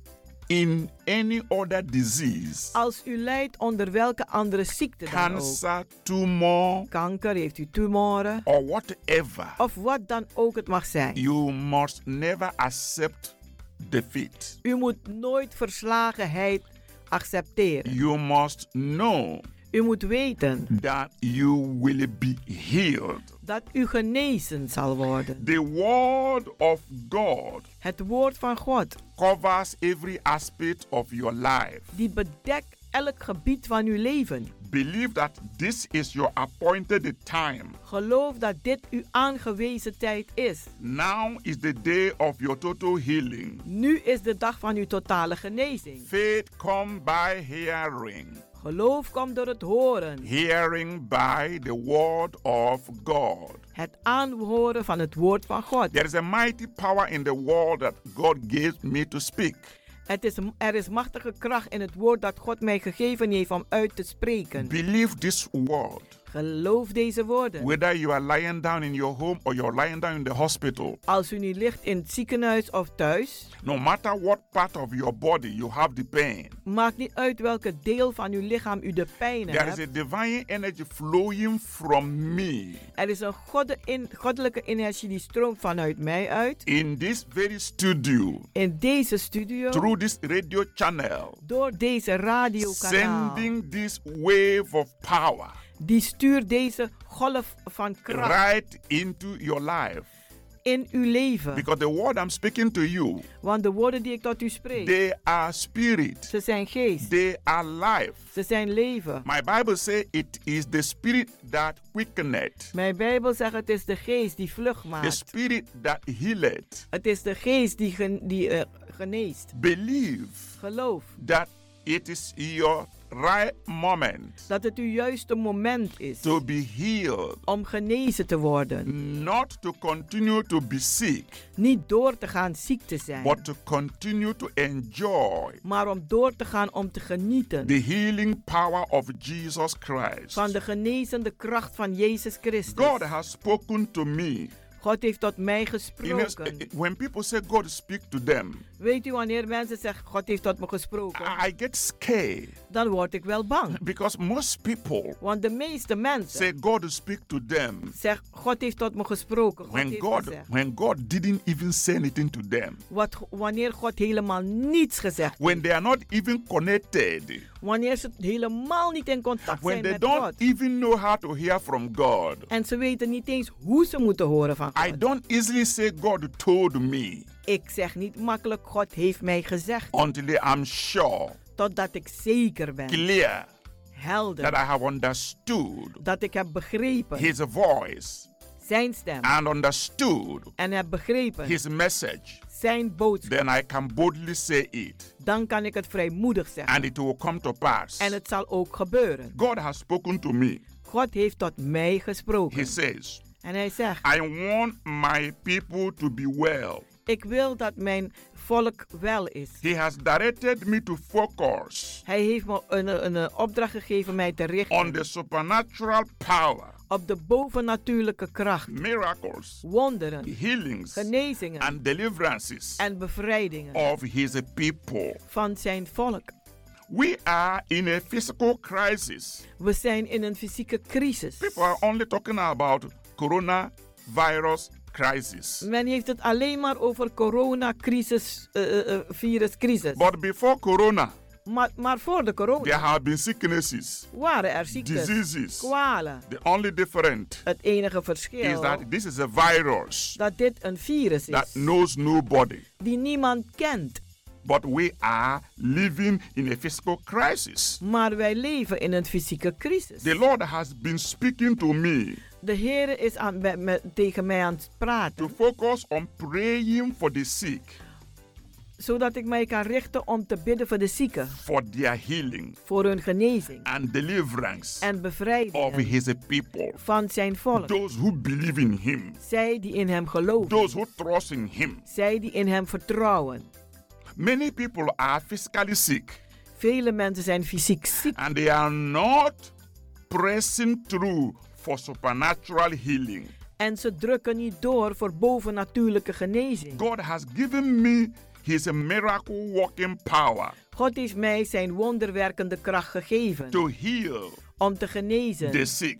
S3: in any other disease,
S10: Als u lijdt onder welke andere ziekte dan ook,
S3: cancer, tumor,
S10: kanker, heeft u tumoren,
S3: or whatever,
S10: of wat dan ook het mag zijn.
S3: you must never accept defeat.
S10: U moet nooit verslagenheid accepteren.
S3: You must know
S10: U moet weten
S3: that you will be healed.
S10: dat u genezen zal worden.
S3: The word of God
S10: Het woord van God,
S3: covers every aspect of your life.
S10: die bedekt elk gebied van uw leven.
S3: Believe that this is your appointed time.
S10: Geloof dat dit uw aangewezen tijd is.
S3: Now is the day of your total healing.
S10: Nu is de dag van uw totale genezing.
S3: Faith come by hearing,
S10: Geloof komt door het horen,
S3: hearing by the word of God.
S10: het aanhoren van het woord van God.
S3: There is a mighty power in the word that God gave me to speak.
S10: Het is, er is machtige kracht in het woord dat God mij gegeven heeft om uit te spreken.
S3: Believe this word.
S10: Geloof deze woorden.
S3: Whether you are lying down in your home or you're lying down in the hospital,
S10: Als u nu ligt in het ziekenhuis of thuis,
S3: no matter what part of your body you have the pain,
S10: maakt niet uit welke deel van uw lichaam u de pijn
S3: There is
S10: hebt.
S3: a divine energy flowing from me
S10: Er is een godde- in- goddelijke energie die stroomt vanuit mij uit.
S3: in this very studio
S10: In deze studio,
S3: through this radio channel,
S10: door deze radiokanaal.
S3: sending this wave of power
S10: Die stuurt deze golf van kracht
S3: right into your life.
S10: in uw leven.
S3: Because the word I'm speaking to you,
S10: Want de woorden die ik tot u spreek,
S3: they are spirit,
S10: ze zijn geest,
S3: they are life.
S10: ze zijn leven.
S3: My Bible says it is the spirit that quickeneth,
S10: Mijn Bijbel zegt het is de geest die vlug
S3: the
S10: maakt.
S3: spirit that healeth.
S10: Het is de geest die, gen- die eh, geneest.
S3: Believe
S10: Geloof
S3: that it is your right moment
S10: dat het uw juiste moment is
S3: to Mm. be healed.
S10: om genezen te worden.
S3: Not to continue to be sick,
S10: Niet door te gaan ziek te zijn,
S3: but to continue to enjoy
S10: maar om door te gaan om te genieten
S3: the healing power of Jesus Christ.
S10: van de genezende kracht van Jezus Christus.
S3: God has spoken to me.
S10: God heeft tot mij
S3: In a-
S10: gesproken.
S3: eh, when people say God speak to them,
S10: Weet u wanneer mensen zeggen God heeft tot me gesproken,
S3: I get scared
S10: dan word ik wel bang.
S3: because most people
S10: Want de meeste mensen
S3: say God speak to them
S10: zeggen God heeft tot me gesproken. God
S3: when
S10: heeft
S3: God
S10: gezegd.
S3: when God didn't even say anything to them.
S10: Wat, wanneer God helemaal niets gezegd
S3: When they are not even connected,
S10: Wanneer ze helemaal niet in contact
S3: when
S10: zijn
S3: they
S10: met
S3: don't
S10: God.
S3: even know how to hear from God.
S10: En ze weten niet eens hoe ze moeten horen van
S3: I don't easily say God told me
S10: Ik zeg niet makkelijk, God heeft mij gezegd.
S3: until I'm sure,
S10: Totdat ik zeker ben,
S3: clear that I
S10: helder,
S3: have understood
S10: dat ik heb begrepen
S3: His voice
S10: zijn stem.
S3: and understood
S10: En heb begrepen
S3: Ah. His message.
S10: zijn boodschap.
S3: Then I can boldly say it,
S10: Dan kan ik het vrijmoedig
S3: and
S10: zeggen.
S3: it will come to pass.
S10: En het zal ook gebeuren.
S3: God has spoken to me.
S10: God heeft tot mij
S3: He
S10: gesproken.
S3: says,
S10: En hij zegt,
S3: I want my people to be well.
S10: ik wil dat mijn volk wel is.
S3: He has directed me to focus
S10: Hij heeft me een, een, een opdracht gegeven mij te
S3: on
S10: richten
S3: the supernatural power,
S10: op de bovennatuurlijke kracht,
S3: miracles,
S10: wonderen,
S3: healings,
S10: genezingen
S3: and deliverances
S10: en bevrijdingen
S3: of His people.
S10: van zijn volk.
S3: We are in a physical crisis.
S10: We zijn in een fysieke crisis.
S3: People are only talking about coronavirus crisis.
S10: Men heeft het alleen maar over coronacrisis, eh, eh, eh, viruscrisis.
S3: But before corona,
S10: Maar, maar voor de
S3: there
S10: corona
S3: have been sicknesses,
S10: waren er ziektes,
S3: diseases.
S10: kwalen.
S3: The only difference
S10: Het enige
S3: is
S10: verschil
S3: that this is a virus
S10: dat dit een virus
S3: that
S10: is
S3: knows nobody.
S10: die niemand kent.
S3: But we are living in a physical crisis.
S10: Maar wij leven in een fysieke crisis.
S3: The Lord has been speaking to me
S10: De Heer is aan, met- met- tegen mij aan het
S3: to
S10: praten,
S3: focus on praying for the sick,
S10: zodat ik mij kan richten om te bidden voor de zieken,
S3: for their healing
S10: voor hun genezing
S3: and deliverance
S10: en
S3: of
S10: bevrijding
S3: His people.
S10: van zijn volk.
S3: Those who believe in Him,
S10: Zij die in hem geloven,
S3: those who trust in Him.
S10: zij die in hem vertrouwen.
S3: Many people are physically sick
S10: Vele mensen zijn fysiek ziek
S3: and they are not pressing through for supernatural healing.
S10: en ze drukken niet door voor bovennatuurlijke genezing.
S3: God has given me His miracle working power
S10: God heeft mij zijn wonderwerkende kracht gegeven
S3: to heal
S10: om te
S3: the
S10: genezen,
S3: sick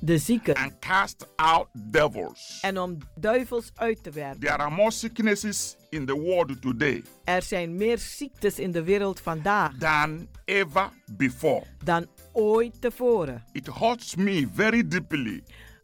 S10: de zieken,
S3: and cast out devils.
S10: en om duivels uit te werken.
S3: There are more sicknesses in the world today
S10: Er zijn meer ziektes in de wereld vandaag
S3: than ever before.
S10: dan ooit tevoren.
S3: It hurts me very deeply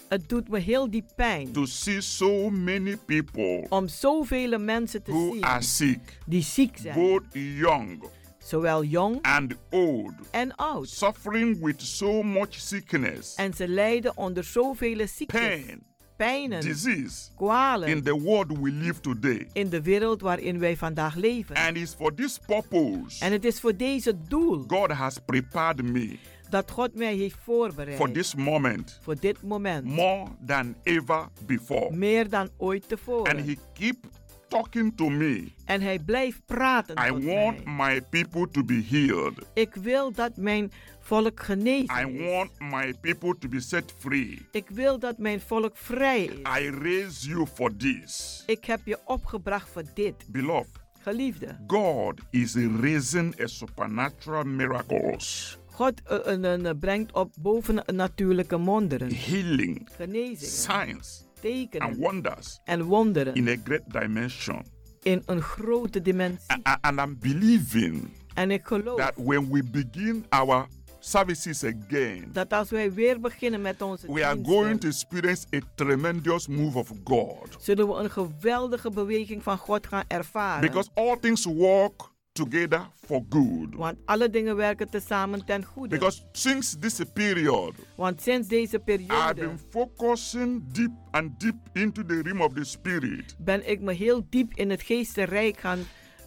S10: Het doet me heel diep pijn
S3: to see so many people
S10: om zoveel mensen te
S3: who are
S10: zien
S3: sick,
S10: die ziek zijn,
S3: both young
S10: zowel jong
S3: and old,
S10: en oud.
S3: suffering with so much sickness,
S10: En ze lijden onder zoveel ziektes,
S3: pain,
S10: pijnen,
S3: disease in
S10: kwalen
S3: the world we live today.
S10: in de wereld waarin wij vandaag leven.
S3: And it's for this purpose
S10: En het is voor deze doel
S3: God has prepared me
S10: dat God mij heeft
S3: for
S10: voorbereid
S3: this moment
S10: voor dit moment,
S3: more than ever before.
S10: meer dan ooit
S3: And
S10: tevoren.
S3: he keep talking to me.
S10: En hij blijft praten
S3: I
S10: tot mij.
S3: want my people to be healed.
S10: Ik wil dat mijn volk
S3: I
S10: genezen is.
S3: want my people to be set free.
S10: Ik wil dat mijn volk vrij is.
S3: I raise you for this.
S10: Ik heb je opgebracht voor dit,
S3: Beloved,
S10: geliefde.
S3: God is raising a supernatural miracles,
S10: God eh, eh, eh, eh, brengt op bovennatuurlijke wonderen,
S3: healing,
S10: genezingen,
S3: signs, and
S10: tekenen
S3: wonders
S10: en wonderen
S3: in a great dimension.
S10: in een grote dimensie.
S3: A- And I'm believing
S10: En ik geloof
S3: that when we begin our services again,
S10: dat als wij weer beginnen met onze
S3: we are
S10: diensten,
S3: going to experience a tremendous move of God.
S10: zullen we een geweldige beweging van God gaan ervaren.
S3: Because all things work together for good.
S10: Want alle dingen werken tezamen ten goede.
S3: Because since this period,
S10: Want sinds deze
S3: I've
S10: periode
S3: been focusing deep and deep into the realm of the spirit.
S10: ben ik me heel diep in het geestenrijk gaan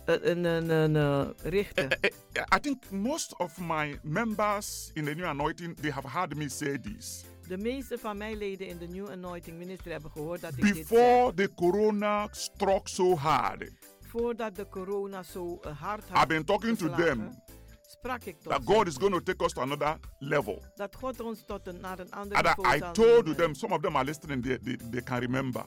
S10: eh, een, een, een, eh, richten.
S3: I think most of my members in the new anointing, they have heard me say this.
S10: De meeste van mijn leden in de New Anointing Ministry hebben gehoord dat ik dit zei.
S3: Before the corona struck so hard,
S10: Voordat de corona zo eh, hard had
S3: I've been talking to
S10: geslagen,
S3: them
S10: sprak ik tot
S3: that
S10: ze
S3: God is going to take us to another level.
S10: dat God ons tot een, naar een ander
S3: And I,
S10: niveau
S3: I
S10: zal
S3: told
S10: nemen.
S3: them, some of them are listening, they, they, they can remember.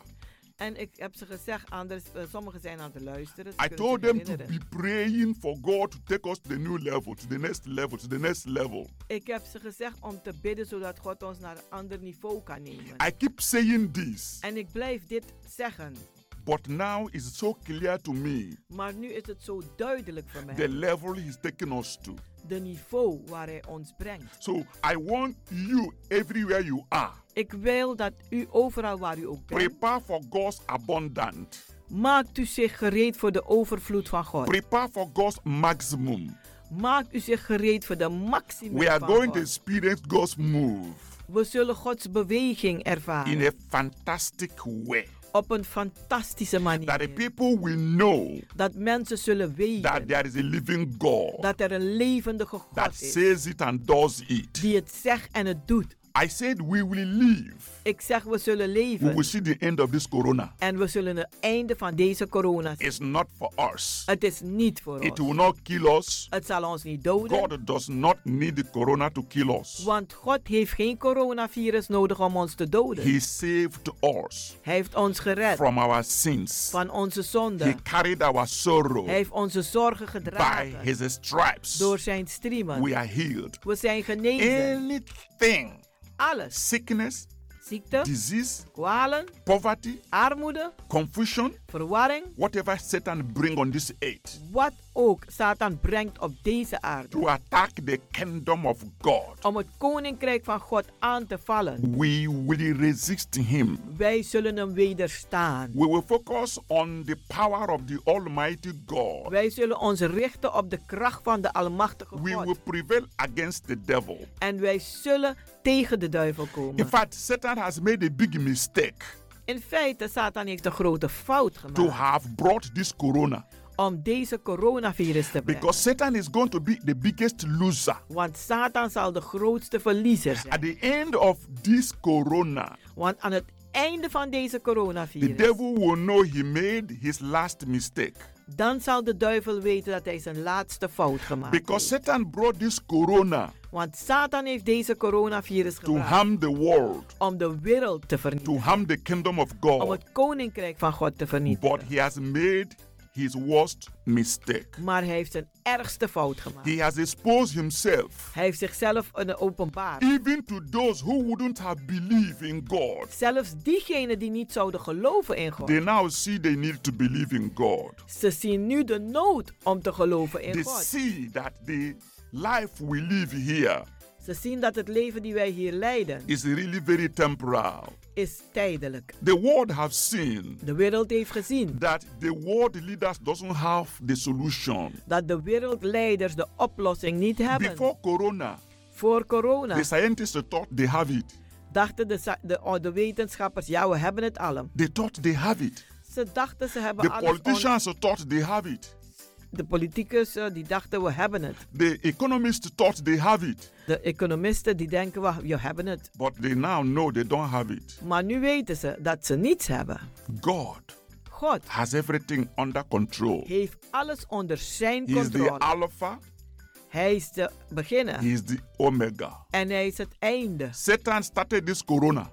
S10: En ik heb ze gezegd, anders, eh, sommigen zijn aan het luisteren. ze
S3: I
S10: kunnen
S3: told
S10: zich
S3: them to
S10: herinneren.
S3: be praying for God to take us to the new level, to the next level, to the next level.
S10: Ik heb ze gezegd om te bidden zodat God ons naar een ander niveau kan nemen.
S3: I keep saying this,
S10: En ik blijf dit zeggen,
S3: but now it's so clear to me
S10: maar nu is het zo duidelijk voor mij.
S3: the level He's taking us to.
S10: de niveau waar hij ons brengt.
S3: So I want you, everywhere you are,
S10: Ik wil dat u overal waar u ook bent,
S3: prepare for God's abundant.
S10: maakt u zich gereed voor de overvloed van God.
S3: Prepare for God's maximum.
S10: Maakt u zich gereed voor de maximum
S3: We are
S10: van
S3: going to
S10: God.
S3: experience God's move
S10: We zullen Gods beweging
S3: in
S10: ervaren
S3: a fantastic way
S10: op een fantastische
S3: that the
S10: manier.
S3: people will know
S10: Dat mensen zullen
S3: that
S10: weten
S3: there is a living God
S10: dat er een levendige
S3: that
S10: God is
S3: says it and does it.
S10: die het zegt en het doet.
S3: I said we will live.
S10: Ik zeg we
S3: We
S10: zullen
S3: will
S10: leven
S3: see the end of this corona.
S10: en we zullen het einde van deze corona zien.
S3: It's not for us.
S10: Het is niet voor
S3: It
S10: ons.
S3: will not kill us.
S10: Het zal ons niet doden.
S3: God does not need the corona to kill us.
S10: Want God heeft geen coronavirus nodig om ons te doden.
S3: He saved us
S10: Hij heeft ons gered
S3: from our sins.
S10: van onze
S3: He
S10: zonden.
S3: carried our
S10: Hij
S3: sorrow.
S10: heeft onze zorgen
S3: By
S10: gedragen
S3: his stripes,
S10: door zijn striemen.
S3: we are healed.
S10: We zijn genezen.
S3: Anything,
S10: Alles.
S3: sickness,
S10: Ziekte,
S3: disease,
S10: kwalen,
S3: poverty,
S10: armoede,
S3: confusion,
S10: verwarring.
S3: whatever Satan bring on this earth
S10: Wat ook Satan brengt op deze aarde.
S3: to attack the kingdom of God,
S10: Om het koninkrijk van God aan te vallen.
S3: we will resist him.
S10: Wij zullen hem wederstaan.
S3: We will focus on the power of the Almighty God.
S10: Wij zullen ons richten op de kracht van de Almachtige
S3: We will
S10: God.
S3: prevail against the devil.
S10: En wij zullen tegen de duivel
S3: In
S10: komen.
S3: fact, Satan has made a big mistake
S10: In feite, Satan heeft een grote fout
S3: to
S10: gemaakt
S3: have brought this corona
S10: om deze coronavirus te brengen.
S3: because Satan is going to be the biggest loser.
S10: Want Satan zal de grootste verliezer zijn.
S3: At the end of this corona,
S10: Want aan het einde van deze
S3: the
S10: coronavirus,
S3: devil will know he made his last mistake.
S10: dan zal de duivel weten dat hij zijn laatste fout gemaakt
S3: Because
S10: heeft.
S3: Satan brought this corona
S10: Want Satan heeft deze coronavirus
S3: to
S10: gebruikt
S3: harm the world,
S10: om de wereld te
S3: to
S10: vernietigen.
S3: harm the kingdom of
S10: Om
S3: God.
S10: het koninkrijk van God te
S3: But
S10: vernietigen.
S3: he has made his worst mistake.
S10: Maar hij heeft zijn ergste fout gemaakt.
S3: He has exposed himself
S10: Hij heeft zichzelf een openbaar.
S3: even to those who wouldn't have believed in God.
S10: Zelfs diegenen die niet zouden geloven in God.
S3: They now see they need to believe in God.
S10: Ze zien nu de nood om te geloven in
S3: They
S10: God.
S3: see that the life we live here
S10: Ze zien dat het leven die wij hier leiden
S3: is really very temporal.
S10: is tijdelijk.
S3: The world have seen
S10: De wereld heeft gezien
S3: that the world leaders doesn't have the solution.
S10: dat de wereldleiders de oplossing niet hebben.
S3: Before corona,
S10: Voor corona
S3: the scientists thought they have it.
S10: dachten de, sa- de, oh, de wetenschappers, ja we hebben het allen.
S3: They thought they have it.
S10: Ze dachten ze hebben
S3: The
S10: alles on-
S3: politicians thought they have it.
S10: De politicus eh, die dachten we hebben het.
S3: The economists thought they have it.
S10: De economisten die denken we we hebben het.
S3: But they now know they don't have it.
S10: Maar nu weten ze dat ze niets hebben.
S3: God
S10: God
S3: has everything under control.
S10: heeft alles onder zijn
S3: He is the
S10: controle.
S3: Alpha,
S10: Hij is de beginner
S3: He is the Omega.
S10: en hij is het einde.
S3: Satan started this corona.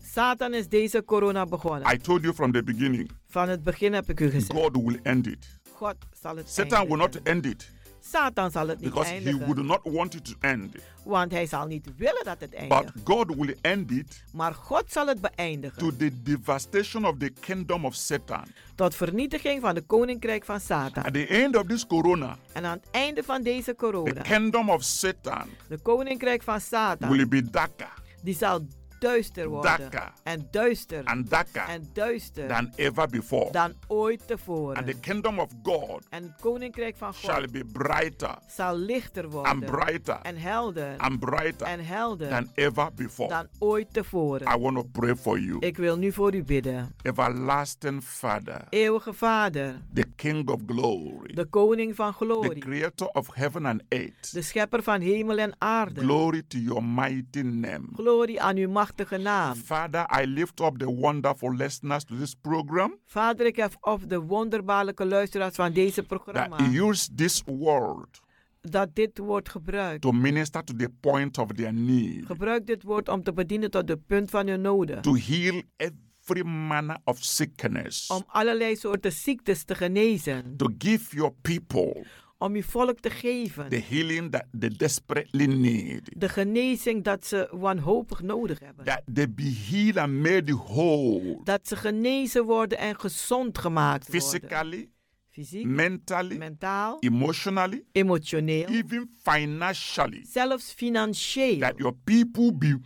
S10: Satan is deze corona begonnen.
S3: I told you from the beginning,
S10: Van het begin heb ik u gezegd.
S3: God will end it.
S10: God zal het
S3: Satan will not
S10: eindigen.
S3: end it
S10: Satan zal het niet
S3: because he would
S10: eindigen.
S3: not want it to end.
S10: Want hij zal niet willen dat het eindigt.
S3: But God will end it
S10: Maar God zal het
S3: to
S10: beëindigen.
S3: the devastation of the kingdom of Satan.
S10: Tot vernietiging van de koninkrijk van Satan.
S3: At the end of this corona,
S10: En aan het einde van deze
S3: the
S10: corona.
S3: kingdom of Satan
S10: De koninkrijk van
S3: will
S10: Satan.
S3: be darker,
S10: Die zal duister worden.
S3: Darker.
S10: En duister.
S3: and uh, darker
S10: En duister.
S3: than ever before.
S10: Dan ooit tevoren.
S3: And the kingdom of God
S10: en het koninkrijk van God
S3: shall be brighter
S10: zal lichter worden.
S3: and brighter
S10: En helder.
S3: and uh, brighter
S10: en helder.
S3: than ever before.
S10: dan ooit tevoren.
S3: I want to pray for you.
S10: Ik wil nu voor u bidden.
S3: Everlasting Father,
S10: Eeuwige Vader,
S3: the King of glory,
S10: de koning van
S3: the
S10: glorie,
S3: creator of heaven and earth,
S10: de schepper van hemel en aarde.
S3: glory to your mighty name.
S10: Glorie aan uw machtige naam.
S3: Father, I lift up the wonderful listeners to this program
S10: Vader, ik heb op de wonderbaarlijke luisteraars van deze programma
S3: that use this word
S10: dat dit wordt gebruikt.
S3: to minister to the point of their need,
S10: Gebruik dit woord om te bedienen tot de punt van uw noden.
S3: to heal every manner of sickness,
S10: Om allerlei soorten ziektes te genezen.
S3: to give your people
S10: Om uw volk te geven.
S3: the healing that they desperately need,
S10: De genezing dat ze wanhopig nodig hebben.
S3: that they be healed and made whole
S10: Dat ze genezen worden en gezond gemaakt worden.
S3: physically,
S10: Fysiek,
S3: mentally,
S10: mentaal,
S3: emotionally,
S10: emotioneel,
S3: even financially,
S10: zelfs financieel.
S3: that your people be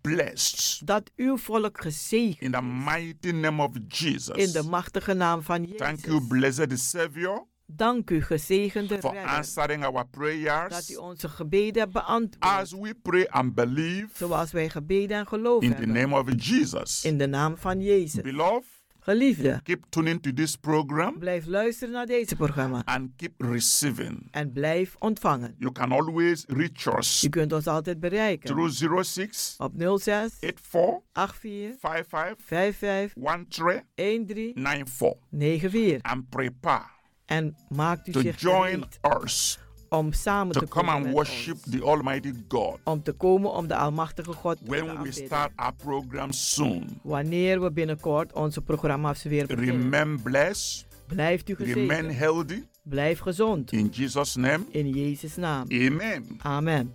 S3: blessed
S10: Dat uw volk gezegend
S3: in the mighty name of Jesus.
S10: in de machtige naam van
S3: Thank you,
S10: Jezus.
S3: blessed Savior,
S10: Dank u, gezegende
S3: for
S10: Redder,
S3: answering our
S10: dat u
S3: prayers
S10: onze gebeden beantwoordt.
S3: as we pray and believe
S10: Zoals wij gebeden en geloof
S3: in the
S10: hebben.
S3: name of Jesus.
S10: In de naam van Jezus.
S3: Beloved,
S10: Geliefde,
S3: keep tuning to this program
S10: blijf luisteren naar deze programma
S3: and keep receiving.
S10: en blijf ontvangen.
S3: You can always reach us
S10: U kunt ons altijd bereiken
S3: through 06
S10: op 06
S3: 84
S10: 84
S3: 55
S10: 55 13
S3: 94
S10: 94.
S3: and prepare
S10: En maakt u
S3: to
S10: zich
S3: join
S10: gereed
S3: us
S10: om samen
S3: to
S10: te
S3: come
S10: komen
S3: and
S10: met
S3: worship
S10: ons.
S3: the Almighty God
S10: Om te komen om de Almachtige God te
S3: when we
S10: aanbidden.
S3: start our program soon.
S10: Wanneer we binnenkort onze programma's weer beginnen.
S3: Remain blessed,
S10: Blijft u
S3: remain
S10: gezegend.
S3: healthy
S10: Blijf gezond.
S3: in Jesus' name.
S10: In Jezus' naam.
S3: Amen.
S10: Amen.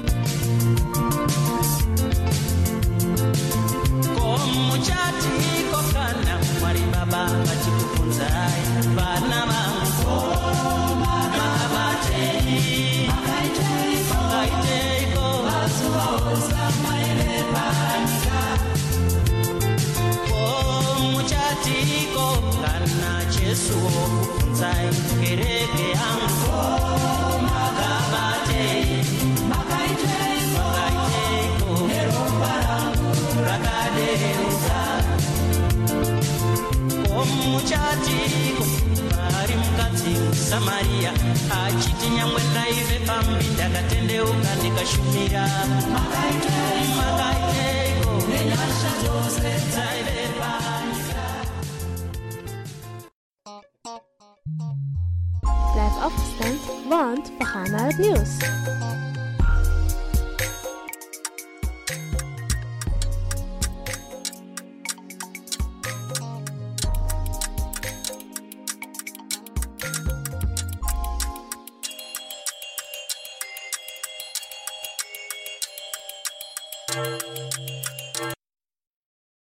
S11: Blijf afgestemd, want we gaan naar het nieuws.
S7: Thank you.